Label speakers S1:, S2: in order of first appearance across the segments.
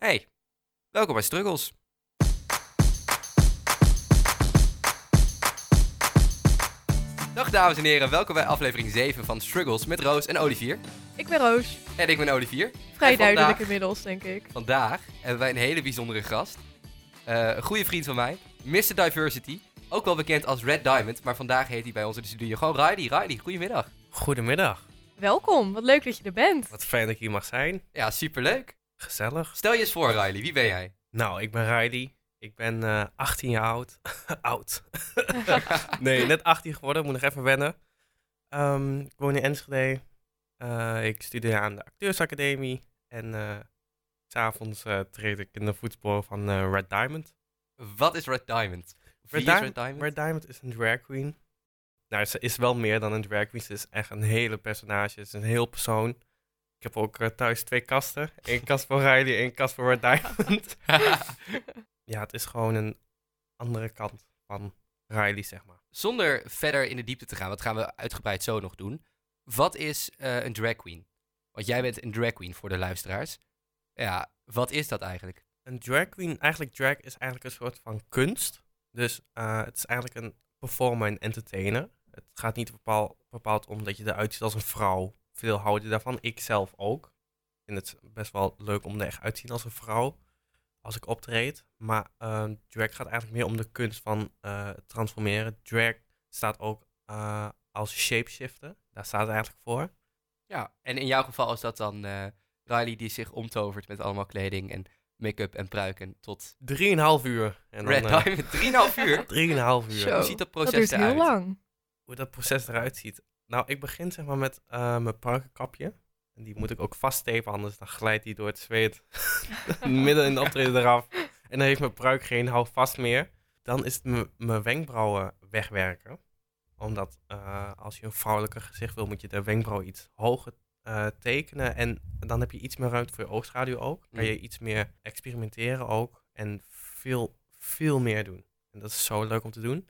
S1: Hey, welkom bij Struggles. Dag dames en heren, welkom bij aflevering 7 van Struggles met Roos en Olivier.
S2: Ik ben Roos.
S1: En ik ben Olivier.
S2: Vrij
S1: En vandaag-
S2: duidelijk inmiddels, denk ik.
S1: Vandaag hebben wij een hele bijzondere gast. Eh, een goede vriend van mij, Mr. Diversity. Ook wel bekend als Red Diamond, maar vandaag heet hij bij ons in de studio gewoon Riley. Riley, goedemiddag.
S3: Goedemiddag.
S2: Welkom, wat leuk dat je er bent.
S3: Wat fijn dat ik hier mag zijn.
S1: Ja, superleuk.
S3: Gezellig.
S1: Stel je eens voor, Riley, wie ben jij?
S3: Nou, ik ben Riley. Ik ben eh, 18 jaar oud. oud. nee, net 18 geworden. Moet nog even wennen. Ehm, ik woon in Enschede. Eh, ik studeer aan de acteursacademie. En eh, s s'avonds eh, treed ik in de voetspoor van eh, Red Diamond.
S1: Wat is Red Diamond? Wie is
S3: Diamond-
S1: Red Diamond?
S3: Red Diamond is een drag queen. Nou, ze is wel meer dan een drag queen. Ze is echt een hele personage. Ze is een heel persoon. Ik heb ook eh, thuis twee kasten. Eén kast voor Riley, één kast voor Red Diamond. ja, het is gewoon een andere kant van Riley, zeg maar.
S1: Zonder verder in de diepte te gaan, wat gaan we uitgebreid zo nog doen. Wat is eh, een drag queen? Want jij bent een drag queen voor de luisteraars. Ja, wat is dat eigenlijk?
S3: Een drag queen, eigenlijk drag is eigenlijk een soort van kunst. Dus eh, het is eigenlijk een performer en entertainer. Het gaat niet bepaal, bepaald om dat je eruit ziet als een vrouw. Veel houden daarvan, ik zelf ook. Ik vind het best wel leuk om er echt uit te zien als een vrouw. Als ik optreed. Maar eh, drag gaat eigenlijk meer om de kunst van eh, het transformeren. Drag staat ook eh, als shapeshifter. Daar staat het eigenlijk voor.
S1: Ja, en in jouw geval is dat dan eh, Riley die zich omtovert met allemaal kleding en make-up en pruiken tot
S3: Drieënhalf uur. En
S1: Red
S3: dan, eh,
S1: Diamond. Drieënhalf uur.
S3: Drieënhalf uur.
S2: Zo.
S1: Hoe ziet dat
S2: dat
S1: proces
S2: duurt heel
S1: eruit?
S2: lang.
S3: hoe dat proces eruit ziet. Nou, ik begin zeg maar met eh, mijn pruikenkapje. En die moet ik ook vaststepen, anders dan glijdt die door het zweet midden in de optreden eraf. En dan heeft mijn pruik geen houvast meer. Dan is het m- mijn wenkbrauwen wegwerken. Omdat eh, als je een vrouwelijker gezicht wil, moet je de wenkbrauw iets hoger eh, tekenen. En dan heb je iets meer ruimte voor je oogschaduw ook. Kan je iets meer experimenteren ook. En veel, veel meer doen. En dat is zo leuk om te doen.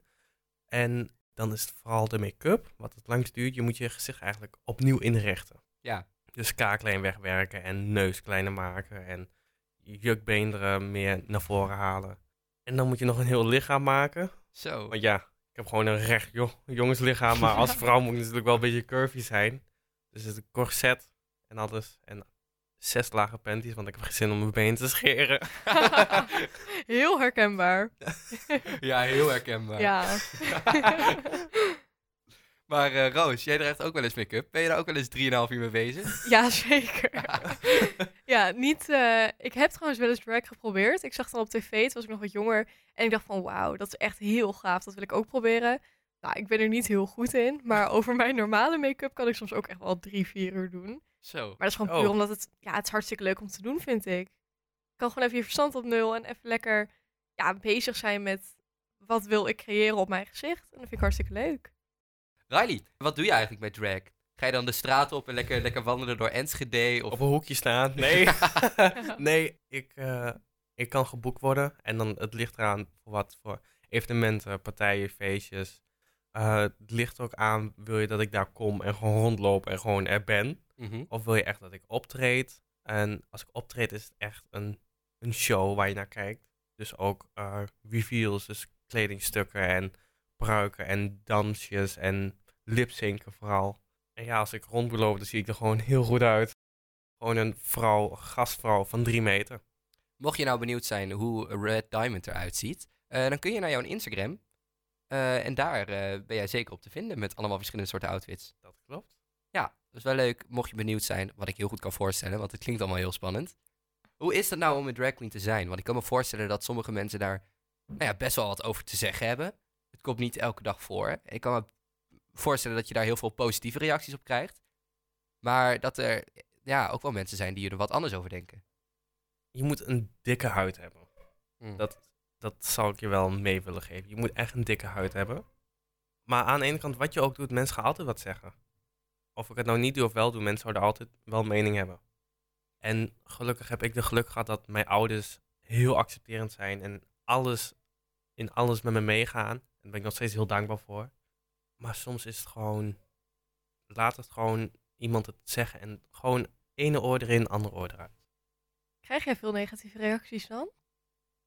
S3: En dan is het vooral de make-up, wat het langst duurt. Je moet je gezicht eigenlijk opnieuw inrichten.
S1: Ja.
S3: Dus kaaklijn wegwerken en neus kleiner maken en jukbeenderen meer naar voren halen. En dan moet je nog een heel lichaam maken.
S1: Zo.
S3: Want ja, ik heb gewoon een recht jo- jongenslichaam, maar als vrouw moet ik natuurlijk wel een beetje curvy zijn. Dus het is een corset en alles en zes lage panties, want ik heb geen zin om mijn been te scheren.
S2: heel herkenbaar.
S1: ja, heel herkenbaar.
S2: Ja.
S1: maar eh, Roos, jij draagt ook wel eens make-up. Ben je daar ook wel eens drieënhalf uur mee bezig?
S2: ja, zeker. ja, niet... eh, ik heb trouwens wel eens drag geprobeerd. Ik zag het dan op tv, toen was ik nog wat jonger. En ik dacht van, wauw, dat is echt heel gaaf. Dat wil ik ook proberen. Nou, ik ben er niet heel goed in. Maar over mijn normale make-up kan ik soms ook echt wel drie, vier uur doen.
S1: Zo.
S2: Maar dat is gewoon
S3: Oh.
S2: puur omdat het, ja, het is hartstikke leuk om te doen, vind ik. Je kan gewoon even je verstand op nul en even lekker ja, bezig zijn met wat wil ik creëren op mijn gezicht. En dat vind ik hartstikke leuk.
S1: Riley, wat doe je eigenlijk met drag? Ga je dan de straat op en lekker, lekker wandelen door Enschede? Of...
S3: Op een hoekje staan. Nee. nee, ik, eh, ik kan geboekt worden. En dan het ligt eraan voor wat voor evenementen, partijen, feestjes. Eh, het ligt ook aan, wil je dat ik daar kom en gewoon rondloop en gewoon er ben?
S1: Mhm.
S3: Of wil je echt dat ik optreed? En als ik optreed is het echt een, een show waar je naar kijkt. Dus ook eh, reveals, dus kledingstukken en pruiken en dansjes en lipzinken vooral. En ja, als ik rond wil lopen, dan zie ik er gewoon heel goed uit. Gewoon een vrouw, gastvrouw van drie meter.
S1: Mocht je nou benieuwd zijn hoe Red Diamond eruit ziet, eh, dan kun je naar jouw Instagram. Eh, en daar eh, ben jij zeker op te vinden met allemaal verschillende soorten outfits.
S3: Dat klopt.
S1: Ja, dat is wel leuk. Mocht je benieuwd zijn, wat ik heel goed kan voorstellen, want het klinkt allemaal heel spannend. Hoe is dat nou om een drag queen te zijn? Want ik kan me voorstellen dat sommige mensen daar nou ja, best wel wat over te zeggen hebben. Het komt niet elke dag voor. Ik kan me voorstellen dat je daar heel veel positieve reacties op krijgt. Maar dat er ja, ook wel mensen zijn die er wat anders over denken.
S3: Je moet een dikke huid hebben.
S1: Hm.
S3: Dat, dat zou ik je wel mee willen geven. Je moet echt een dikke huid hebben. Maar aan de ene kant, wat je ook doet, mensen gaan altijd wat zeggen. Of ik het nou niet doe of wel doe, mensen zouden altijd wel mening hebben. En gelukkig heb ik de geluk gehad dat mijn ouders heel accepterend zijn en alles, in alles met me meegaan. En daar ben ik nog steeds heel dankbaar voor. Maar soms is het gewoon, laat het gewoon iemand het zeggen en gewoon ene oor erin, andere oor eruit.
S2: Krijg jij veel negatieve reacties dan?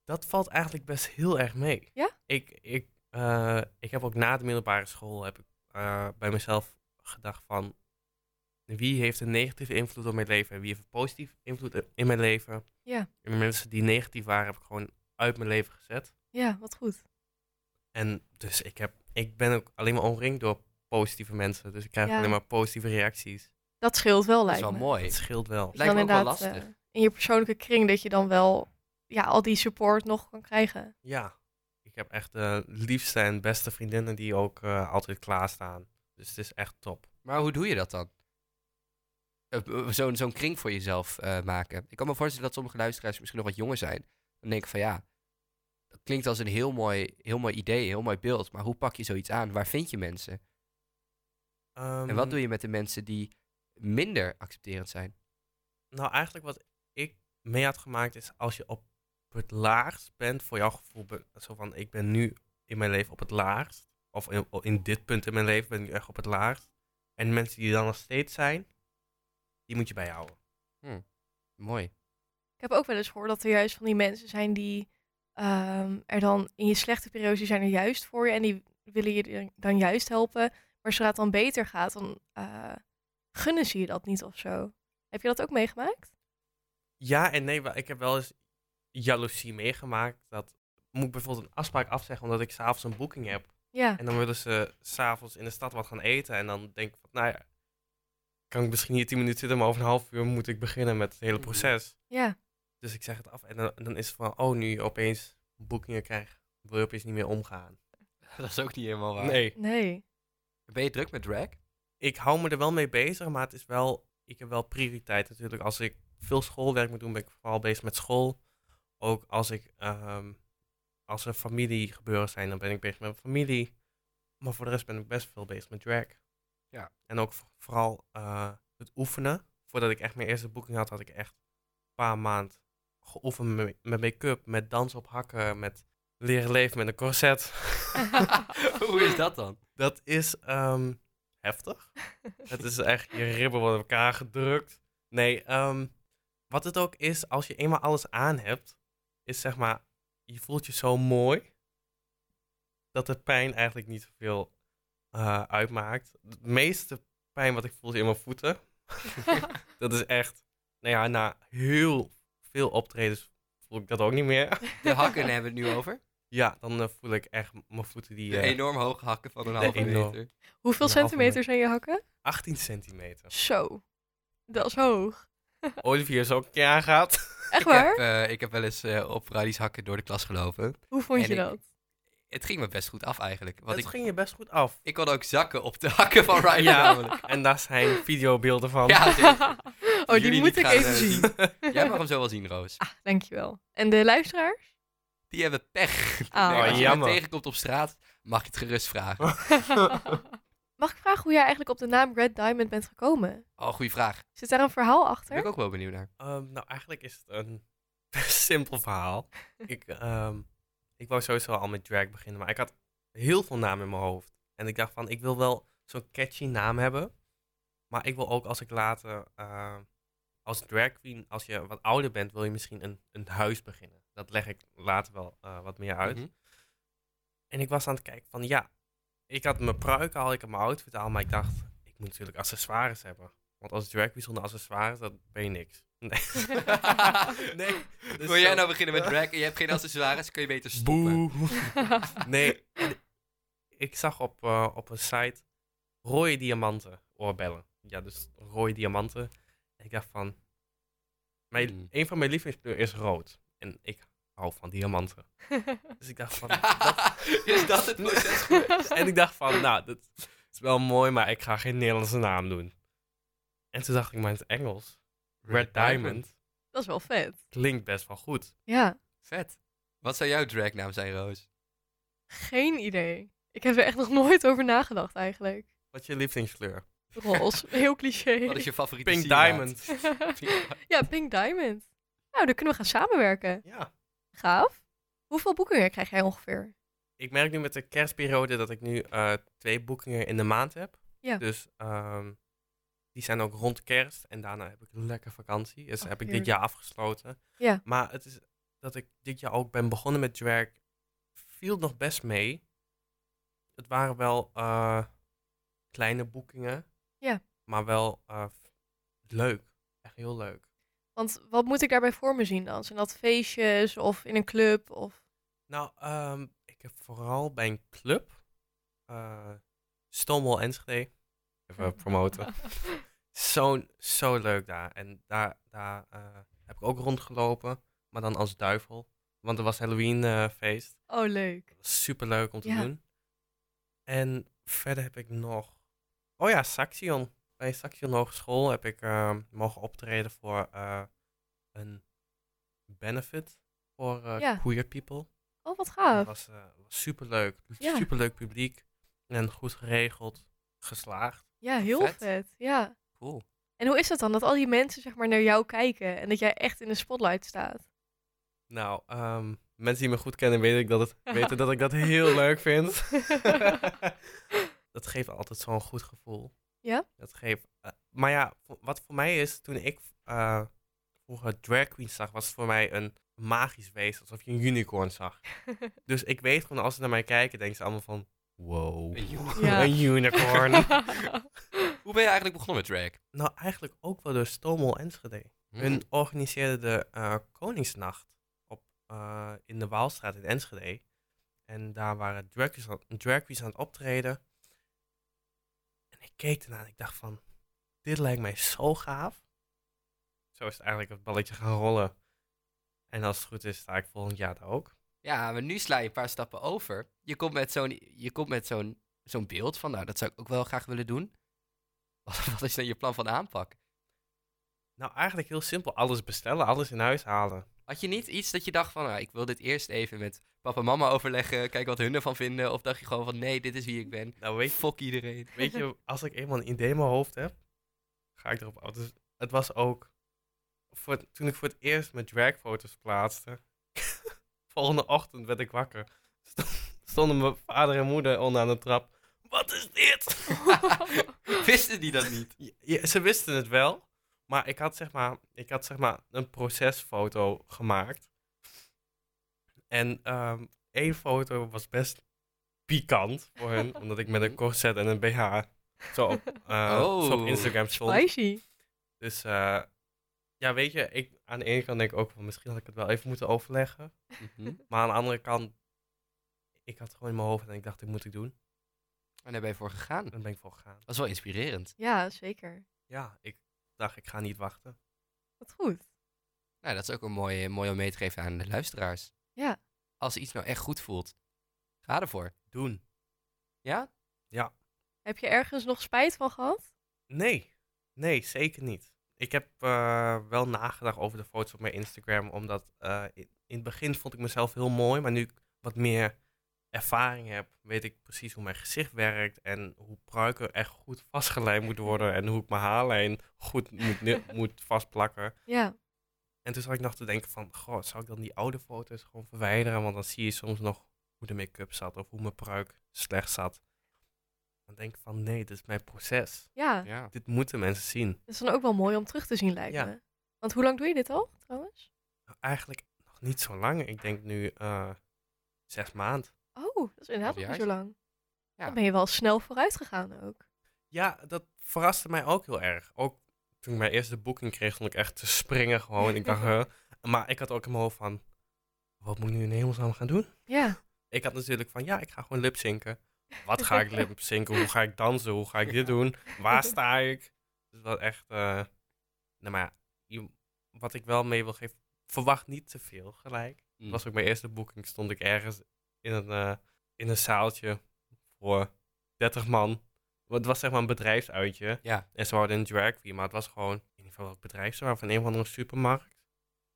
S3: Dat valt eigenlijk best heel erg mee.
S2: Ja?
S3: Ik, ik, eh, ik heb ook na de middelbare school heb ik, eh, bij mezelf gedacht van... Wie heeft een negatieve invloed op mijn leven en wie heeft een positieve invloed i- in mijn leven?
S2: Ja.
S3: En mensen die negatief waren heb ik gewoon uit mijn leven gezet.
S2: Ja, wat goed.
S3: En dus ik, heb, ik ben ook alleen maar omringd door positieve mensen. Dus ik krijg
S2: Ja.
S3: alleen maar positieve reacties.
S2: Dat scheelt wel,
S1: Dat is
S2: lijkt
S1: wel
S2: me.
S1: mooi.
S3: Het scheelt wel.
S2: Dat je
S1: Lijkt me
S2: dan
S1: ook wel
S2: inderdaad,
S1: lastig.
S2: eh, in je persoonlijke kring dat je dan wel ja, al die support nog kan krijgen.
S3: Ja, ik heb echt de liefste en beste vriendinnen die ook eh, altijd klaarstaan. Dus het is echt top.
S1: Maar hoe doe je dat dan? Eh, eh, Zo'n zo'n kring voor jezelf eh, maken. Ik kan me voorstellen dat sommige luisteraars misschien nog wat jonger zijn. Dan denk ik van ja, dat klinkt als een heel mooi, heel mooi idee, heel mooi beeld. Maar hoe pak je zoiets aan? Waar vind je mensen? En
S3: Ehm,
S1: wat doe je met de mensen die minder accepterend zijn?
S3: Nou, eigenlijk wat ik mee had gemaakt is als je op het laagst bent, voor jouw gevoel, ben- zo van ik ben nu in mijn leven op het laagst. Of in, in dit punt in mijn leven ben ik nu echt op het laagst. En de mensen die er dan nog steeds zijn, die moet je bijhouden.
S1: Mooi.
S2: Ik heb ook wel eens gehoord dat er juist van die mensen zijn die ehm, er dan in je slechte periodes, die zijn er juist voor je en die willen je dan juist helpen. Maar zodra het dan beter gaat, dan eh, gunnen ze je dat niet of zo. Heb je dat ook meegemaakt?
S3: Ja en nee, wa- ik heb wel eens jaloezie meegemaakt. Dat moet ik bijvoorbeeld een afspraak afzeggen omdat ik s'avonds een boeking heb.
S2: Ja,
S3: En dan willen ze s'avonds in de stad wat gaan eten. En dan denk ik van, nou ja, kan ik misschien hier tien minuten zitten, maar over een half uur moet ik beginnen met het hele
S1: Mhm.
S3: proces.
S2: ja.
S3: Dus ik zeg het af en dan, en dan is het van, oh nu opeens boekingen krijg, wil je opeens niet meer omgaan.
S1: Dat is ook niet helemaal
S3: Nee,
S2: Nee.
S1: Ben je druk met drag?
S3: ik hou me er wel mee bezig, maar het is wel, ik heb wel prioriteit natuurlijk. Als ik veel schoolwerk moet doen, ben ik vooral bezig met school. Ook als ik, ehm, als er familiegebeuren zijn, dan ben ik bezig met mijn familie. Maar voor de rest ben ik best veel bezig met drag.
S1: Ja.
S3: En ook v- vooral eh, het oefenen. Voordat ik echt mijn eerste boeking had, had ik echt een paar maanden geoefend met, met make-up, met dans op hakken, met leren leven met een corset.
S1: Hoe is dat dan?
S3: Dat is ehm, heftig. het is echt, je ribben worden op elkaar gedrukt. Nee, ehm, wat het ook is, als je eenmaal alles aan hebt, is zeg maar, je voelt je zo mooi dat de pijn eigenlijk niet zoveel eh, uitmaakt. Het meeste pijn wat ik voel is in mijn voeten. dat is echt, nou ja, na heel veel optredens voel ik dat ook niet meer.
S1: De hakken hebben we het nu over.
S3: ja, dan eh, voel ik echt m- mijn voeten die
S1: De
S3: eh,
S1: enorm hoge hakken van een
S3: De
S1: halve
S3: enorm-
S1: meter.
S2: Hoeveel
S3: Een halve
S2: centimeter zijn je hakken?
S3: 18 centimeter.
S2: Zo. Dat is hoog.
S3: Olivier zo een keer aangaat.
S2: Echt
S1: Ik heb,
S2: waar?
S1: eh, ik heb wel eens eh, op Radies hakken door de klas gelopen.
S2: Hoe vond
S1: en
S2: je
S1: ik-
S2: dat?
S1: Het ging me best goed af eigenlijk. Want
S3: Dat
S1: ik,
S3: ging je best goed af.
S1: ik kon ook zakken op de hakken van Riley.
S3: Ja.
S1: namelijk.
S3: En daar zijn videobeelden van.
S1: Ja, zeker.
S2: oh, die
S1: jullie
S2: moet
S1: niet
S2: ik
S1: gaan,
S2: even
S1: eh,
S2: zien.
S1: Jij mag hem zo wel zien, Roos.
S2: Ah, dankjewel. En de luisteraar?
S1: Die hebben pech.
S2: Ah.
S1: Nee, als je hem
S3: Jammer.
S1: tegenkomt op straat, mag je het gerust vragen.
S2: Mag ik vragen hoe jij eigenlijk op de naam Red Diamond bent gekomen?
S1: Oh, goede vraag.
S2: Zit daar een verhaal
S1: Daar ben
S2: achter?
S1: ik ook wel benieuwd naar.
S3: Ehm, nou, eigenlijk is het een simpel verhaal. Ik, ehm, ik wou sowieso al met drag beginnen, maar ik had heel veel namen in mijn hoofd. En ik dacht van, ik wil wel zo'n catchy naam hebben. Maar ik wil ook als ik later, ehm, als drag queen, als je wat ouder bent, wil je misschien een, een huis beginnen. Dat leg ik later wel eh, wat meer uit.
S1: Mhm.
S3: En ik was aan het kijken van ja, ik had mijn pruik al, ik had mijn outfit al, maar ik dacht, ik moet natuurlijk accessoires hebben. Want als drag queen zonder accessoires, dan ben je niks. Nee. nee dus
S1: Wil jij
S3: zo-
S1: nou beginnen met drag en je hebt geen accessoires, kun je beter stoppen.
S3: Nee, en ik zag op, eh, op een site rode diamanten oorbellen. Ja, dus rode diamanten. En ik dacht van, mijn,
S1: Hmm.
S3: een van mijn lievelingskleuren is rood. En ik hou van diamanten. Dus ik dacht van,
S1: is dat het proces geweest?
S3: En ik dacht van, nou, dat is wel mooi, maar ik ga geen Nederlandse naam doen. En toen dacht ik, maar in het Engels, Red Diamond,
S2: dat is wel vet.
S3: klinkt best wel goed.
S2: Ja,
S1: Vet. Wat zou jouw dragnaam zijn, Roos?
S2: geen idee. Ik heb er echt nog nooit over nagedacht eigenlijk.
S3: Wat is je lievelingskleur?
S2: Roze, heel cliché.
S1: Wat is je favoriete
S3: Pink
S1: sieraad?
S3: Diamond.
S2: ja, Pink Diamond. Nou, dan kunnen we gaan samenwerken.
S3: Ja.
S2: Gaaf. Hoeveel boekingen krijg jij ongeveer?
S3: Ik merk nu met de kerstperiode dat ik nu eh, twee boekingen in de maand heb.
S2: Ja.
S3: Dus ehm, Die zijn ook rond kerst. En daarna heb ik een lekker vakantie. Dus
S2: Oh,
S3: heb ik dit
S2: heerlijk.
S3: jaar afgesloten.
S2: Ja.
S3: Maar het is dat ik dit jaar ook ben begonnen met drag. Viel nog best mee. Het waren wel eh, kleine boekingen.
S2: Ja.
S3: Maar wel eh, leuk. Echt heel leuk.
S2: Want wat moet ik daarbij voor me zien dan? Zijn dat feestjes of in een club? Of...
S3: Nou, ehm, ik heb vooral bij een club, eh Stonewall Enschede, even promoten. zo, zo leuk daar. En daar, daar eh, heb ik ook rondgelopen, maar dan als duivel. Want er was Halloween eh, feest.
S2: Oh, leuk.
S3: Dat was super leuk om te
S2: Ja.
S3: doen. En verder heb ik nog... Oh ja, Saxion. Bij Saxion Hogeschool heb ik ehm, mogen optreden voor eh, een benefit voor eh,
S2: Ja.
S3: queer people.
S2: Oh, wat
S3: Het
S2: gaaf.
S3: was, eh, was superleuk. Dus
S2: Ja.
S3: Superleuk publiek. En goed geregeld. Geslaagd.
S2: Ja, heel
S1: vet.
S2: vet. Ja.
S1: Cool.
S2: En hoe is dat dan? Dat al die mensen zeg maar naar jou kijken en dat jij echt in de spotlight staat.
S3: Nou, ehm, mensen die me goed kennen weten, ik dat het, weten dat ik dat heel leuk vind. dat geeft altijd zo'n goed gevoel.
S2: Ja?
S3: Dat geeft... eh, maar ja, vo- wat voor mij is, toen ik eh, vroeger drag queens zag, was het voor mij een magisch wezen. Alsof je een unicorn zag. Dus ik weet gewoon, als ze naar mij kijken, denken ze allemaal van... Wow.
S2: Ja.
S3: Een unicorn.
S1: Hoe ben je eigenlijk begonnen met drag?
S3: nou, eigenlijk ook wel door Stomel Enschede.
S1: Mhm.
S3: Hun organiseerde de eh, Koningsnacht op, eh, in de Waalstraat in Enschede. En daar waren drag queens aan, drag queens aan het optreden. En ik keek ernaar en ik dacht van, dit lijkt mij zo gaaf. Zo is het eigenlijk het balletje gaan rollen. En als het goed is, sta ik volgend jaar daar ook.
S1: Ja, maar nu sla je een paar stappen over. Je komt met zo'n, je komt met zo'n, zo'n beeld van, nou, dat zou ik ook wel graag willen doen. Wat, wat is dan je plan van aanpak?
S3: Nou, eigenlijk heel simpel. Alles bestellen, alles in huis halen.
S1: Had je niet iets dat je dacht van, nou, ik wil dit eerst even met papa en mama overleggen, kijken wat hun ervan vinden? Of dacht je gewoon van, nee, dit is wie ik ben.
S3: Nou, weet je,
S1: Fok iedereen.
S3: Weet je, als ik eenmaal een idee in mijn hoofd heb, ga ik erop af. Dus het was ook, voor, het- toen ik voor het eerst mijn dragfoto's plaatste, volgende ochtend werd ik wakker. Stond- Stonden mijn vader en moeder onderaan de trap. Wat is dit?
S1: Wisten die dat niet?
S3: Je- je- ze wisten het wel, maar ik had zeg maar, ik had zeg maar een procesfoto gemaakt. En ehm, één foto was best pikant voor hen, omdat ik met een corset en een BH zo op, eh,
S1: Oh.
S3: zo op Instagram stond.
S2: Spicy.
S3: Dus eh, ja, weet je, ik, aan de ene kant denk ik ook van misschien had ik het wel even moeten overleggen.
S1: Mhm.
S3: Maar aan de andere kant, ik had het gewoon in mijn hoofd en ik dacht, dit moet ik doen.
S1: En daar ben je voor gegaan.
S3: En
S1: Dat
S3: daar ben ik voor gegaan.
S1: is wel inspirerend.
S2: Ja, zeker.
S3: Ja, ik dacht, ik ga niet wachten.
S2: Wat goed.
S1: Nou, dat is ook een mooie, mooi om mee te geven aan de luisteraars.
S2: Ja.
S1: Als iets nou echt goed voelt, ga ervoor.
S3: Doen.
S1: Ja?
S2: Heb je ergens nog spijt van gehad?
S3: Nee, nee, zeker niet. Ik heb eh, wel nagedacht over de foto's op mijn Instagram, omdat eh, in, in het begin vond ik mezelf heel mooi, maar nu ik wat meer ervaring heb, weet ik precies hoe mijn gezicht werkt en hoe pruiken echt goed vastgeleid moet worden en hoe ik mijn haarlijn goed moet, ne- moet vastplakken.
S2: Ja.
S3: En toen zat ik nog te denken van, goh, zou ik dan die oude foto's gewoon verwijderen, want dan zie je soms nog hoe de make-up zat of hoe mijn pruik slecht zat. Dan denk ik van, nee, dit is mijn proces.
S2: Ja.
S1: Ja.
S3: Dit moeten mensen zien.
S2: Dat is dan ook wel mooi om terug te zien, lijkt
S3: Ja.
S2: me. Want hoe lang doe je dit al, trouwens?
S3: Nou, eigenlijk nog niet zo lang. Ik denk nu eh, zes maand.
S2: Oh, dat is inderdaad nog niet
S1: Alweer?
S2: zo lang.
S1: Ja.
S2: Dan ben je wel snel vooruit gegaan ook.
S3: Ja, dat verraste mij ook heel erg. Ook toen ik mijn eerste boeking kreeg, stond ik echt te springen gewoon. Ik dacht, huh. maar ik had ook in mijn hoofd van, wat moet ik nu in hemelsnaam gaan doen?
S2: Ja.
S3: Ik had natuurlijk van, ja, ik ga gewoon lipzinken. Wat ga ik lipzinken? Hoe ga ik dansen? Hoe ga ik dit doen? Waar sta ik? Dus wat echt, eh, nou maar ja, je- wat ik wel mee wil geven, verwacht niet te veel gelijk.
S1: Mm.
S3: was ook mijn eerste boeking. Stond ik ergens in een, eh, in een zaaltje voor 30 man. Want het was zeg maar een bedrijfsuitje.
S1: Ja,
S3: En ze hadden een drag queen, maar het was gewoon... Ik weet niet van welk bedrijf ze waren, van een of andere supermarkt.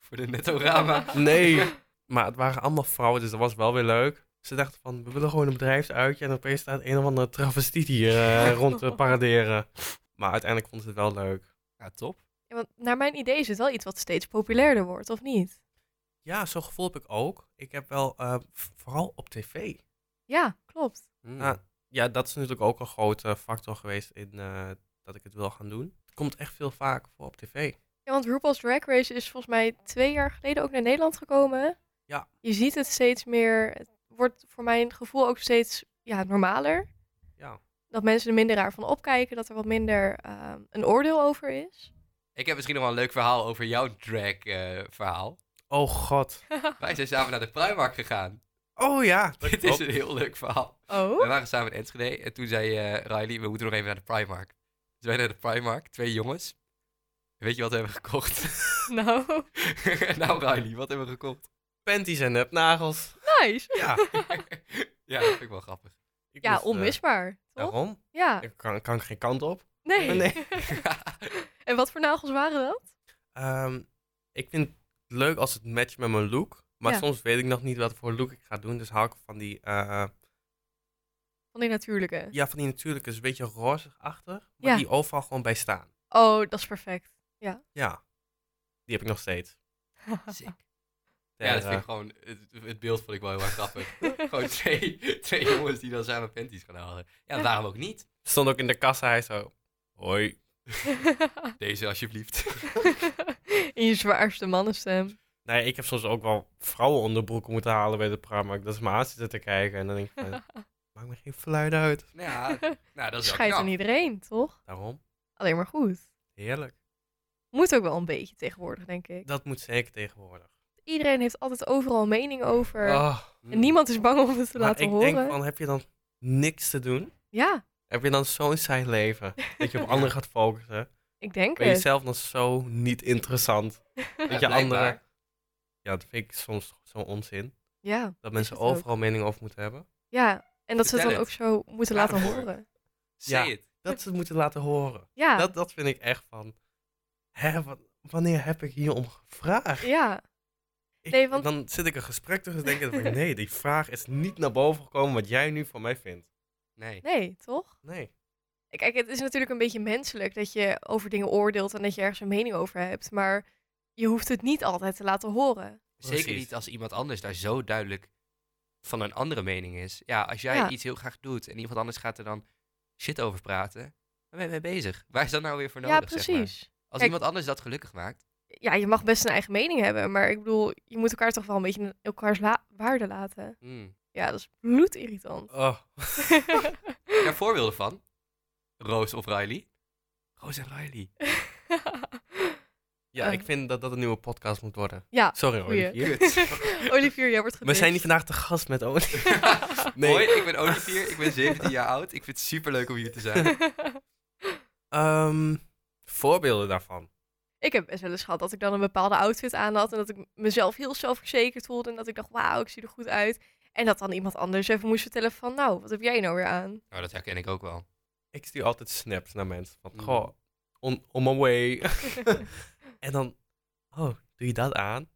S1: voor de Netorama.
S3: Nee. Maar het waren allemaal vrouwen, dus dat was wel weer leuk. Ze dachten van, we willen gewoon een bedrijfsuitje. En opeens staat een of andere travestiet hier eh, rond te paraderen. Maar uiteindelijk vonden ze het wel leuk.
S1: Ja, top.
S2: Ja, want naar mijn idee is het wel iets wat steeds populairder wordt, of niet?
S3: Ja, zo'n gevoel heb ik ook. Ik heb wel, eh, v- vooral op tv.
S2: Ja, klopt.
S1: Mm.
S3: Ah, ja, dat is natuurlijk ook een grote factor geweest in eh, dat ik het wil gaan doen. Het komt echt veel vaak voor op tv.
S2: Ja, want RuPaul's Drag Race is volgens mij twee jaar geleden ook naar Nederland gekomen.
S3: Ja.
S2: Je ziet het steeds meer. Het wordt voor mijn gevoel ook steeds ja, normaler.
S3: Ja.
S2: Dat mensen er minder raar van opkijken. Dat er wat minder ehm, een oordeel over is.
S1: Ik heb misschien nog wel een leuk verhaal over jouw drag eh, verhaal.
S3: Oh god.
S1: Wij zijn samen naar de Primark gegaan.
S3: Oh ja. dat
S1: Dit is
S3: klopt.
S1: een heel leuk verhaal. We
S2: Oh?
S1: waren samen in Enschede en toen zei eh Riley, we moeten nog even naar de Primark. Dus wij naar de Primark, twee jongens. Weet je wat we hebben gekocht?
S2: Nou,
S1: nou Riley, wat hebben we gekocht?
S3: Panties en nepnagels.
S2: nice.
S3: Ja.
S1: ja, dat vind ik wel grappig.
S3: Ik
S2: Ja,
S3: moest, eh,
S2: onmisbaar. toch?
S3: Waarom?
S2: Ja.
S3: Ik kan, kan geen kant op.
S2: Nee.
S3: Nee.
S2: en wat voor nagels waren dat?
S3: Ehm, ik vind het leuk als het matcht met mijn look. Maar
S2: Ja.
S3: soms weet ik nog niet wat voor look ik ga doen. Dus hou ik van die, eh,
S2: Van die natuurlijke.
S3: ja, van die natuurlijk is een beetje roze-achtig. Maar
S2: Ja.
S3: die overal gewoon bij staan.
S2: Oh, dat is perfect.
S3: Ja. Die heb ik nog steeds.
S1: Sick. Ja, dat
S3: Ter,
S1: vind ik gewoon, het, het beeld vond ik wel heel erg grappig. gewoon twee, twee jongens die dan samen panties gaan halen. Ja,
S2: Ja.
S1: waarom ook niet?
S3: eh, Stond ook in de kassa, hij zo... Hoi.
S1: Deze alsjeblieft.
S2: In je zwaarste mannenstem.
S3: Nee, Nou ik heb soms ook wel vrouwen onderbroeken moeten halen bij de Primark. Dat is mijn aanzitten te kijken. En dan denk ik van, maakt me geen fluit uit.
S1: nou, ja, nou, dat is wel
S2: Schijt
S1: knap.
S2: aan iedereen, toch?
S3: Daarom.
S2: Alleen maar goed.
S3: Heerlijk.
S2: Moet ook wel een beetje tegenwoordig, denk ik.
S3: Dat moet zeker tegenwoordig.
S2: Iedereen heeft altijd overal een mening over.
S1: Ah.
S3: Oh,
S2: En niemand is bang om het te
S3: maar
S2: laten
S3: ik
S2: horen.
S3: denk van, heb je dan niks te doen?
S2: Ja,
S3: Heb je dan zo'n saai leven? Dat je op anderen gaat focussen.
S2: ik denk
S3: Ben je
S2: het.
S3: zelf dan zo niet interessant?
S1: Ja,
S3: Dat je
S1: blijkbaar.
S3: anderen... Ja, dat vind ik soms zo'n onzin.
S2: Ja.
S3: Dat mensen
S2: het ook.
S3: overal mening over moeten hebben.
S2: ja, en dat ze het
S1: Vertel
S2: dan ook
S1: het.
S2: zo moeten
S1: Ja,
S2: laten
S1: hoor.
S2: horen.
S1: Say
S3: Ja.
S1: it.
S3: Dat ze het moeten laten horen.
S2: Ja,
S3: Dat, dat vind ik echt van... Hè, wa- wanneer heb ik hier om gevraagd?
S2: ja.
S3: Ik-
S2: Nee, want-
S3: Dan zit ik een gesprek tussen en denk ik van... Nee, die vraag is niet naar boven gekomen wat jij nu van mij vindt.
S1: Nee.
S2: Nee, toch?
S3: Nee.
S2: Kijk, het is natuurlijk een beetje menselijk dat je over dingen oordeelt en dat je ergens een mening over hebt. Maar je hoeft het niet altijd te laten horen.
S1: Zeker
S3: Precies.
S1: niet als iemand anders daar zo duidelijk van een andere mening is. Ja, als jij
S2: Ja.
S1: iets heel graag doet en iemand anders gaat er dan shit over praten, waar ben je mee bezig? Waar is dat nou weer voor nodig?
S2: ja,
S1: Zeg maar?
S2: precies.
S1: Als
S2: Kijk-
S1: iemand anders dat gelukkig maakt.
S2: Ja, je mag best een eigen mening hebben, maar ik bedoel, je moet elkaar toch wel een beetje in elkaars la- waarde laten.
S1: Mm.
S2: Ja, dat is bloedirritant.
S3: Oh,
S1: Ja, voorbeelden van? Roos of Riley? Roos en Riley.
S3: ja,
S2: Eh.
S3: ik vind dat dat een nieuwe podcast moet worden.
S2: ja,
S3: Sorry,
S2: Goeie.
S3: Olivier.
S2: Olivier, jij wordt
S3: We
S2: gedicht.
S3: zijn hier vandaag te gast met Olivier. Nee.
S1: Hoi, ik ben Olivier, ik ben 17 jaar oud. Ik vind het super leuk om hier te zijn.
S3: Ehm, voorbeelden daarvan.
S2: ik heb best wel eens gehad dat ik dan een bepaalde outfit aan had en dat ik mezelf heel zelfverzekerd voelde en dat ik dacht, wauw, ik zie er goed uit. En dat dan iemand anders even moest vertellen van, nou, wat heb jij nou weer aan?
S1: Nou, dat herken ik ook wel.
S3: Ik stuur altijd snaps naar mensen. Van,
S1: Mm.
S3: goh, on, on my way. en dan, oh, doe je dat aan?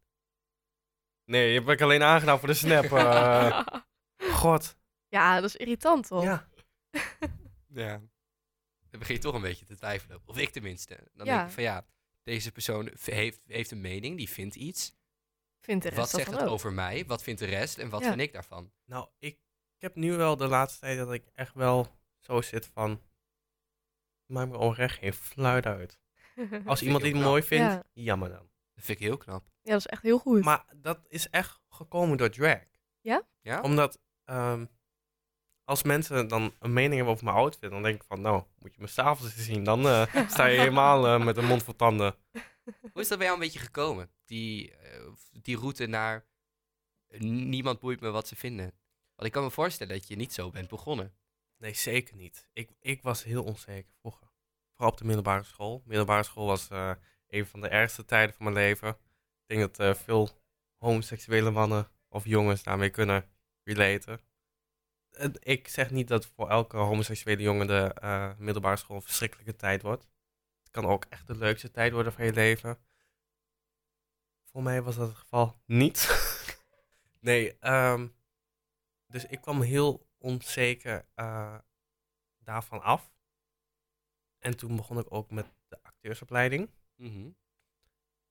S3: Nee, je heb ik alleen aangedaan voor de snap. eh. god.
S2: ja, dat is irritant toch?
S3: Ja.
S1: Ja. Dan begin je toch een beetje te twijfelen. Of ik tenminste. Dan
S2: Ja.
S1: denk ik van ja, deze persoon v- heeft, heeft een mening, die vindt iets.
S2: Vindt de rest
S1: Wat
S2: dat
S1: zegt
S2: dan
S1: het
S2: ook?
S1: over mij? Wat vindt de rest? En wat
S2: Ja.
S1: vind ik daarvan?
S3: Nou, ik, ik heb nu wel de laatste tijd dat ik echt wel zo zit van... Maak me oprecht geen fluit uit. Als
S1: vind ik
S3: iemand
S1: heel
S3: dit
S1: knap.
S3: mooi vindt,
S2: Ja.
S3: jammer dan.
S1: Dat vind ik heel knap.
S2: Ja, dat is echt heel
S1: Hm.
S2: goed.
S3: Maar dat is echt gekomen door drag.
S1: Oh.
S2: Ja?
S1: Ja?
S3: Omdat ehm, als mensen dan een mening hebben over mijn outfit, dan denk ik van, nou, moet je mijn s'avonds eens zien. Dan eh, sta je helemaal eh, met een mond vol tanden.
S1: Hoe is dat bij jou een beetje gekomen? Die, eh, die route naar eh, niemand boeit me wat ze vinden. Want ik kan me voorstellen dat je niet zo bent begonnen.
S3: Nee, zeker niet. Ik, ik was heel onzeker vroeger. Vooral op de middelbare school. Middelbare school was eh, een van de ergste tijden van mijn leven. Ik denk dat eh, veel homoseksuele mannen of jongens daarmee kunnen relaten. Het- Ik zeg niet dat voor elke homoseksuele jongen de eh, middelbare school een verschrikkelijke tijd wordt. Het kan ook echt de leukste tijd worden van je leven. Voor mij was dat het geval niet. nee, ehm, dus ik kwam heel onzeker eh, daarvan af. En toen begon ik ook met de acteursopleiding.
S1: Mhm.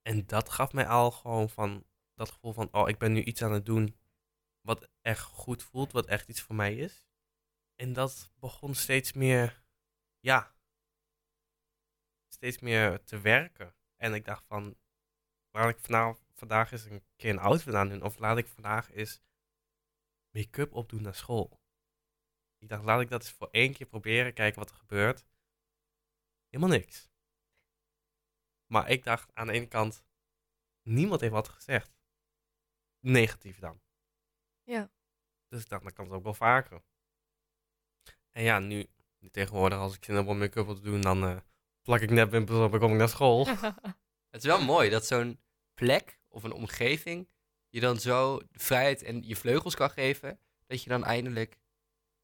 S3: En dat gaf mij al gewoon van dat gevoel van, oh, ik ben nu iets aan het doen wat echt goed voelt, wat echt iets voor mij is. En dat begon steeds meer, ja, steeds meer te werken. En ik dacht van, laat ik vanavond, vandaag eens een keer een outfit aan doen. Of laat ik vandaag eens make-up opdoen naar school. Ik dacht, laat ik dat eens voor één keer proberen, kijken wat er gebeurt. Helemaal niks. Maar ik dacht aan de ene kant, niemand heeft wat gezegd. Negatief dan.
S2: Ja.
S3: Dus ik dacht, dat kan het ook wel vaker. En ja, nu, nu tegenwoordig, als ik zin heb om make-up op te doen, dan eh, plak ik net wimpels op en kom ik naar school.
S1: Het is wel mooi dat zo'n plek of een omgeving je dan zo de vrijheid en je vleugels kan geven, dat je dan eindelijk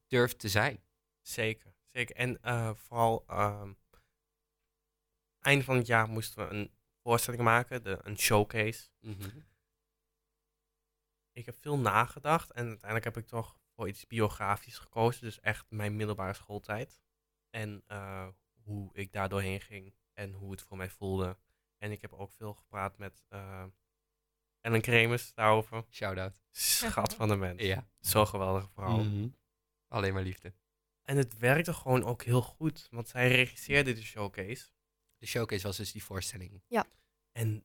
S1: durft te zijn.
S3: Zeker, zeker. En eh, vooral, ehm, eind van het jaar moesten we een voorstelling maken, de, een showcase.
S1: Mhm.
S3: Ik heb veel nagedacht en uiteindelijk heb ik toch voor iets biografisch gekozen. Dus echt mijn middelbare schooltijd. En eh, hoe ik daar doorheen ging en hoe het voor mij voelde. En ik heb ook veel gepraat met eh Ellen Kremers daarover.
S1: Shout-out.
S3: Schat van de mens.
S1: Ja. Mm. Mhm.
S3: Zo'n geweldige vrouw.
S1: Alleen maar liefde.
S3: En het werkte gewoon ook heel goed, want zij regisseerde de showcase.
S1: De showcase was dus die voorstelling.
S3: En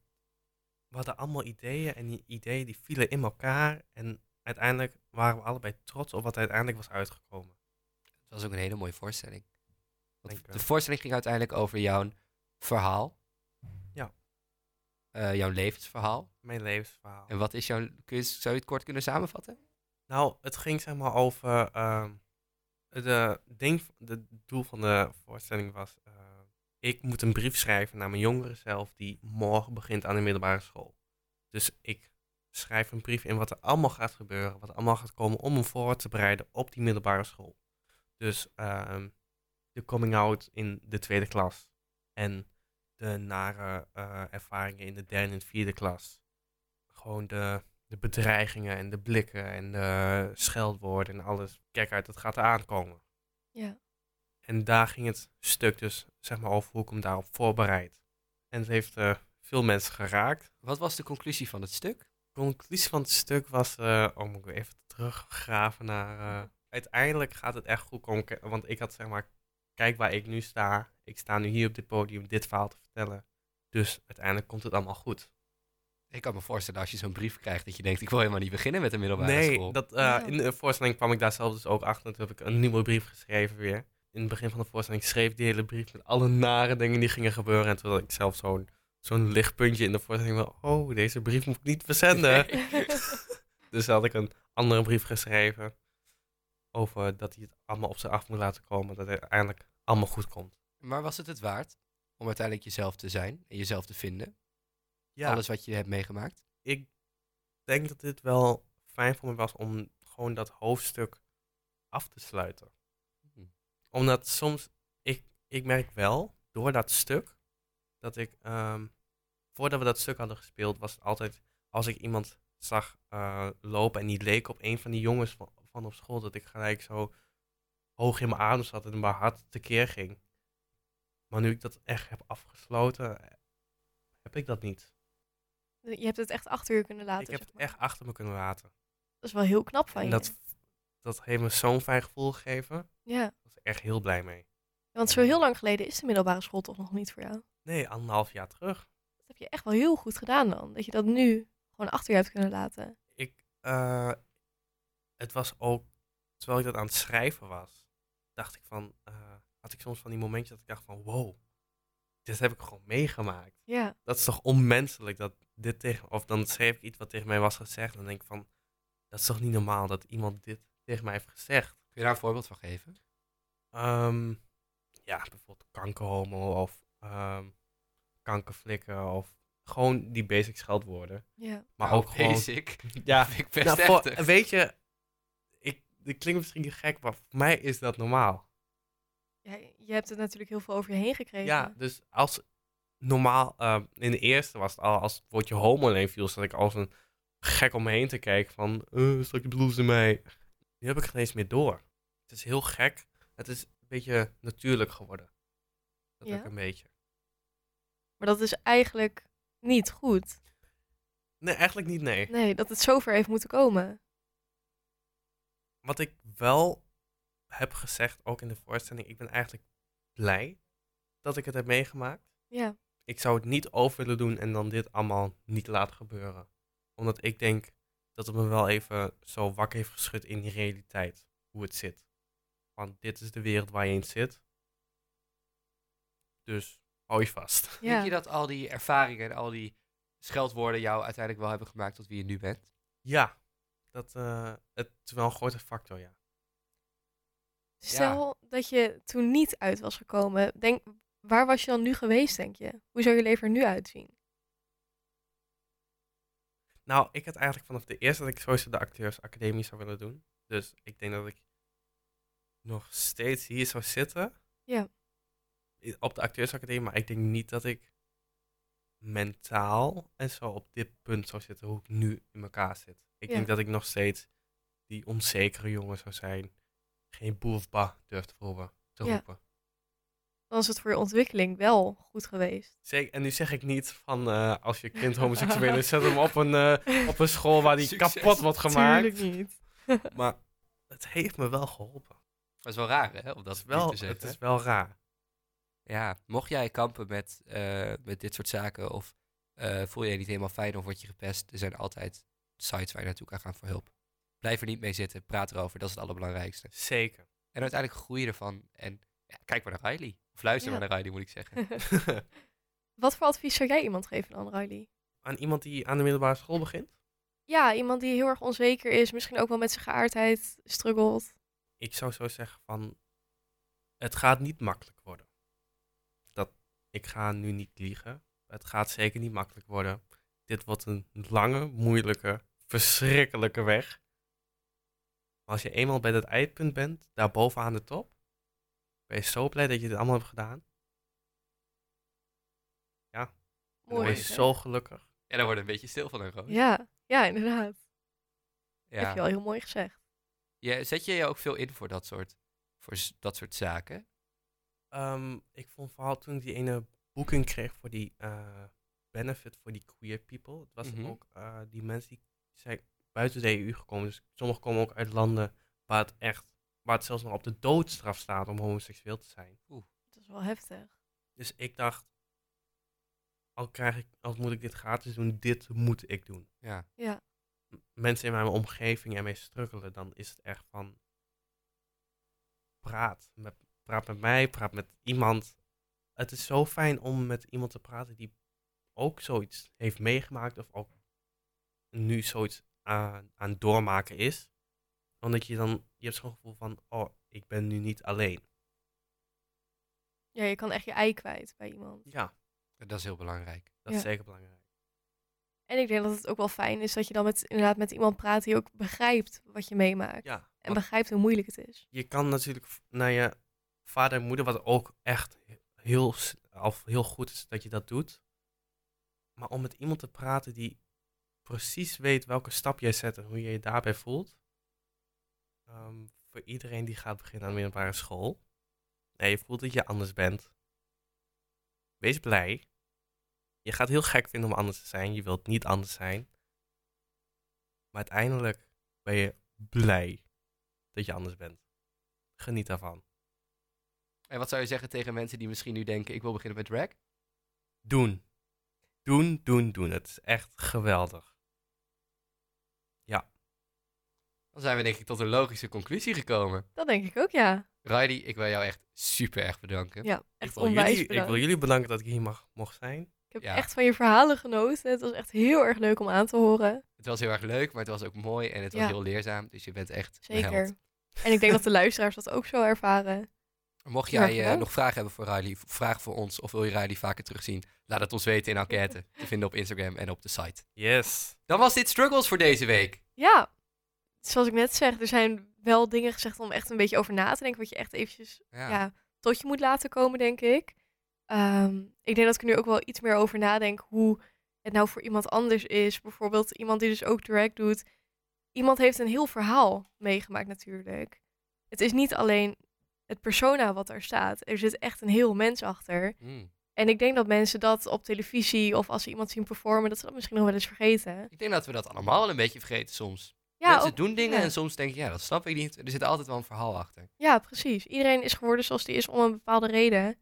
S3: we hadden allemaal ideeën en die ideeën die vielen in elkaar. En uiteindelijk waren we allebei trots op wat er uiteindelijk was uitgekomen.
S1: Het was ook een hele mooie voorstelling. Want
S3: Dank je
S1: de
S3: wel.
S1: voorstelling ging uiteindelijk over jouw verhaal.
S3: Ja.
S1: Eh, jouw levensverhaal.
S3: Mijn levensverhaal.
S1: En wat is jouw... Kun je, zou je het kort kunnen samenvatten?
S3: Nou, het ging zeg maar over. ehm de ding, de doel van de voorstelling was. eh, ik moet een brief schrijven naar mijn jongere zelf. die morgen begint aan de middelbare school. Dus ik schrijf een brief in wat er allemaal gaat gebeuren. wat er allemaal gaat komen. om me voor te bereiden op die middelbare school. Dus ehm, de coming out in de tweede klas. En de nare eh, ervaringen in de derde en vierde klas. Gewoon de de bedreigingen en de blikken en de scheldwoorden en alles. Kijk uit, dat gaat eraan komen.
S2: ja.
S3: En daar ging het stuk dus zeg maar over hoe ik hem daarop voorbereid. En het heeft eh, veel mensen geraakt.
S1: Wat was de conclusie van het stuk?
S3: De conclusie van het stuk was, eh oh moet ik even teruggraven naar... eh, uiteindelijk gaat het echt goed komen, K- want ik had zeg maar, kijk waar ik nu sta. Ik sta nu hier op dit podium dit verhaal te vertellen. Dus uiteindelijk komt het allemaal goed.
S1: Ik kan me voorstellen als je zo'n brief krijgt dat je denkt... ik wil helemaal niet beginnen met de middelbare
S3: Nee,
S1: school.
S3: dat, eh,
S2: Ja.
S3: in de voorstelling kwam ik daar zelf dus ook achter. Toen heb ik een nieuwe brief geschreven weer. In het begin van de voorstelling schreef ik die hele brief met alle nare dingen die gingen gebeuren. En toen had ik zelf zo'n zo'n lichtpuntje in de voorstelling van, oh, deze brief moet ik niet verzenden. dus had ik een andere brief geschreven over dat hij het allemaal op zich af moet laten komen. Dat het uiteindelijk allemaal goed komt.
S1: Maar was het het waard om uiteindelijk jezelf te zijn en jezelf te vinden?
S3: Ja,
S1: Alles wat je hebt meegemaakt?
S3: ik denk dat dit wel fijn voor me was om gewoon dat hoofdstuk af te sluiten.
S1: Hm.
S3: Omdat soms, ik, ik merk wel door dat stuk, dat ik, ehm, voordat we dat stuk hadden gespeeld, was het altijd, als ik iemand zag eh, lopen en die leek op een van die jongens van, van op school, dat ik gelijk zo hoog in mijn adem zat en mijn hart tekeer ging. Maar nu ik dat echt heb afgesloten, eh, heb ik dat niet.
S2: Je hebt het echt achter je kunnen laten.
S3: ik heb
S2: zeg
S3: het
S2: maar.
S3: echt achter me kunnen laten.
S2: Dat is wel heel knap van
S3: En
S2: je.
S3: dat, dat heeft me zo'n fijn gevoel gegeven. Daar
S2: Ja.
S3: was ik echt heel blij mee.
S2: Want zo heel lang geleden is de middelbare school toch nog niet voor jou.
S3: Nee, anderhalf jaar terug.
S2: Dat Dus heb je echt wel heel goed gedaan dan. Dat je dat nu gewoon achter je hebt kunnen laten.
S3: Ik, eh, het was ook, terwijl ik dat aan het schrijven was, dacht ik van, eh, had ik soms van die momentjes dat ik dacht van, wow, dit heb ik gewoon meegemaakt.
S2: Ja.
S3: dat is toch onmenselijk dat dit tegen. Of dan schreef ik iets wat tegen mij was gezegd. En dan denk ik van, dat is toch niet normaal dat iemand dit tegen mij heeft gezegd.
S1: Kun je daar een voorbeeld van geven?
S3: Ehm, ja, bijvoorbeeld kankerhomo of ehm kankerflikken of gewoon die basic scheldwoorden.
S2: Ja.
S3: Maar
S1: Nou,
S3: ook gewoon.
S1: basic.
S3: Ja,
S1: vind ik best
S3: nou, voor-
S1: heftig.
S3: weet je, ik, dit klinkt misschien gek, maar voor mij is dat normaal.
S2: ja. Je hebt het natuurlijk heel veel over je heen gekregen.
S3: Ja, dus als normaal, ehm, in de eerste was het al, als het woordje homo alleen viel, zat ik als een gek om me heen te kijken van, eh, stak je blouse in mij. Nu heb ik het ineens meer door. Het is heel gek. Het is een beetje natuurlijk geworden. Dat
S2: Ja.
S3: ook een beetje.
S2: Maar dat is eigenlijk niet goed.
S3: Nee, eigenlijk niet, nee.
S2: Nee, dat het zover heeft moeten komen.
S3: Wat ik wel heb gezegd, ook in de voorstelling, ik ben eigenlijk blij dat ik het heb meegemaakt.
S2: Ja.
S3: Ik zou het niet over willen doen en dan dit allemaal niet laten gebeuren. Omdat ik denk dat het me wel even zo wakker heeft geschud in die realiteit. Hoe het zit. Want dit is de wereld waar je in zit. Dus hou je vast.
S1: Denk je
S2: ja.
S1: dat al die ervaringen en al die scheldwoorden jou uiteindelijk wel hebben gemaakt tot wie je nu bent?
S3: Ja, dat eh, het is wel een grote factor, ja.
S2: Dus Stel dat je toen niet uit was gekomen. Denk, waar was je dan nu geweest, denk je? Hoe zou je leven er nu uitzien?
S3: Nou, ik had eigenlijk vanaf de eerste dat ik sowieso de acteursacademie zou willen doen. Dus ik denk dat ik nog steeds hier zou zitten.
S2: Ja.
S3: I- Op de acteursacademie, maar ik denk niet dat ik mentaal en zo op dit punt zou zitten hoe ik nu in elkaar zit. Ik
S2: Ja.
S3: denk dat ik nog steeds die onzekere jongen zou zijn. Geen boe of ba durf te roepen. Te
S2: Ja.
S3: roepen.
S2: Dan is het voor je ontwikkeling wel goed geweest.
S3: Zeker, en nu zeg ik niet van eh, als je kind homoseksueel is, zet hem op een, eh, op een school waar die
S1: Succes.
S3: kapot wordt gemaakt.
S2: Tuurlijk niet.
S3: Maar het heeft me wel geholpen.
S1: Dat is wel raar, hè? Om dat
S3: Het is wel,
S1: te
S3: het
S1: zeggen.
S3: is wel raar.
S1: Ja, mocht jij kampen met, eh, met dit soort zaken of eh, voel je je niet helemaal fijn of word je gepest, er zijn altijd sites waar je naartoe kan gaan voor hulp. Blijf er niet mee zitten, praat erover, dat is het allerbelangrijkste.
S3: Zeker.
S1: En uiteindelijk groei je ervan en ja, kijk maar naar Riley. Of luister
S2: Ja.
S1: maar naar Riley, moet ik zeggen.
S2: Wat voor advies zou jij iemand geven dan, Riley?
S3: Aan iemand die aan de middelbare school begint?
S2: Ja, iemand die heel erg onzeker is, misschien ook wel met zijn geaardheid struggelt.
S3: Ik zou zo zeggen van, het gaat niet makkelijk worden. Dat, ik ga nu niet liegen. Het gaat zeker niet makkelijk worden. Dit wordt een lange, moeilijke, verschrikkelijke weg. Maar als je eenmaal bij dat eindpunt bent, daar bovenaan de top, ben je zo blij dat je dit allemaal hebt gedaan. En dan
S2: Mooi.
S3: word je
S2: hè?
S3: zo gelukkig.
S1: En daar wordt een beetje stil van een roos.
S2: Ja, ja, inderdaad. Heb
S1: Ja.
S2: je wel heel mooi gezegd.
S1: Ja, zet je je ook veel in voor dat soort, voor z- dat soort zaken?
S3: Ehm, ik vond vooral toen ik die ene boeking kreeg voor die eh, benefit voor die queer people. Het was
S1: Mhm.
S3: ook eh, die mensen die zijn buiten de EU gekomen. Dus sommigen komen ook uit landen waar het echt, waar het zelfs nog op de doodstraf staat om homoseksueel te zijn.
S2: Dat is wel heftig.
S3: Dus ik dacht, al krijg ik, al moet ik dit gratis doen, dit moet ik doen.
S1: Ja.
S2: Ja,
S3: M- Mensen in mijn omgeving ermee struggelen, dan is het echt van praat. Met, praat met mij, praat met iemand. Het is zo fijn om met iemand te praten die ook zoiets heeft meegemaakt of ook nu zoiets aan, aan het doormaken is. Omdat je dan, je hebt zo'n gevoel van, oh, ik ben nu niet alleen.
S2: ja je kan echt je ei kwijt bij iemand.
S3: Ja,
S1: En Dat is heel belangrijk.
S3: dat is zeker belangrijk.
S2: En ik denk dat het ook wel fijn is dat je dan met, inderdaad met iemand praat die ook begrijpt wat je meemaakt.
S3: Ja,
S2: En begrijpt hoe moeilijk het is.
S3: je kan natuurlijk v- naar je vader en moeder, wat ook echt heel, s- of heel goed is dat je dat doet. Maar om met iemand te praten die precies weet welke stap jij zet en hoe je je daarbij voelt. ehm, voor iedereen die gaat beginnen aan de middelbare school. Nee, je voelt dat je anders bent. Wees blij. Je gaat het heel gek vinden om anders te zijn. Je wilt niet anders zijn. Maar uiteindelijk ben je blij dat je anders bent. Geniet daarvan.
S1: En wat zou je zeggen tegen mensen die misschien nu denken, ik wil beginnen met drag?
S3: Doen. Doen, doen, doen. Het is echt geweldig.
S1: Dan zijn we denk ik tot een logische conclusie gekomen.
S2: Dat denk ik ook, ja.
S1: Riley, ik wil jou echt super erg bedanken.
S2: Ja, echt
S3: ik, wil
S2: onwijs
S3: jullie, ik
S2: bedankt.
S3: wil jullie bedanken dat ik hier mag, mocht zijn.
S2: Ik heb
S1: Ja.
S2: echt van je verhalen genoten. Het was echt heel erg leuk om aan te horen.
S1: Het was heel erg leuk, maar het was ook mooi en het was
S2: Ja.
S1: heel leerzaam. Dus je bent echt een held.
S2: Zeker. En ik denk dat de luisteraars dat ook zo ervaren.
S1: Mocht
S2: Heel erg
S1: jij eh,
S2: bedankt.
S1: nog vragen hebben voor Riley, v- vraag voor ons of wil je Riley vaker terugzien, laat het ons weten in enquête. te vinden op Instagram en op de site.
S3: Yes.
S1: Dan was dit Struggles voor deze week.
S2: Ja, zoals ik net zeg, er zijn wel dingen gezegd om echt een beetje over na te denken. Wat je echt eventjes ja. tot je moet laten komen, denk ik. Ehm, ik denk dat ik er nu ook wel iets meer over nadenk hoe het nou voor iemand anders is. Bijvoorbeeld iemand die dus ook drag doet. Iemand heeft een heel verhaal meegemaakt natuurlijk. Het is niet alleen het persona wat daar staat. Er zit echt een heel mens achter.
S1: Mm.
S2: En ik denk dat mensen dat op televisie of als ze iemand zien performen, dat ze dat misschien nog wel eens vergeten.
S1: Ik denk dat we dat allemaal wel een beetje vergeten soms.
S2: Ja,
S1: Mensen
S2: ook-
S1: doen dingen
S2: ja.
S1: en soms denk je, ja, dat snap ik niet. Er zit altijd wel een verhaal achter.
S2: ja, precies. Iedereen is geworden zoals die is om een bepaalde reden.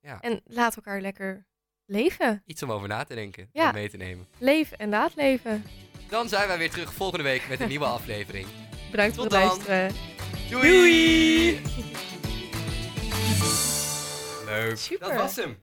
S1: Ja.
S2: En laat elkaar lekker leven.
S1: Iets om over na te denken
S2: Ja.
S1: en mee te nemen.
S2: Leef en laat leven.
S1: Dan zijn wij weer terug volgende week met een nieuwe aflevering.
S2: Bedankt voor
S1: Tot
S2: het
S1: dan.
S2: luisteren.
S1: Doei!
S3: Leuk.
S2: Super.
S1: Dat was hem.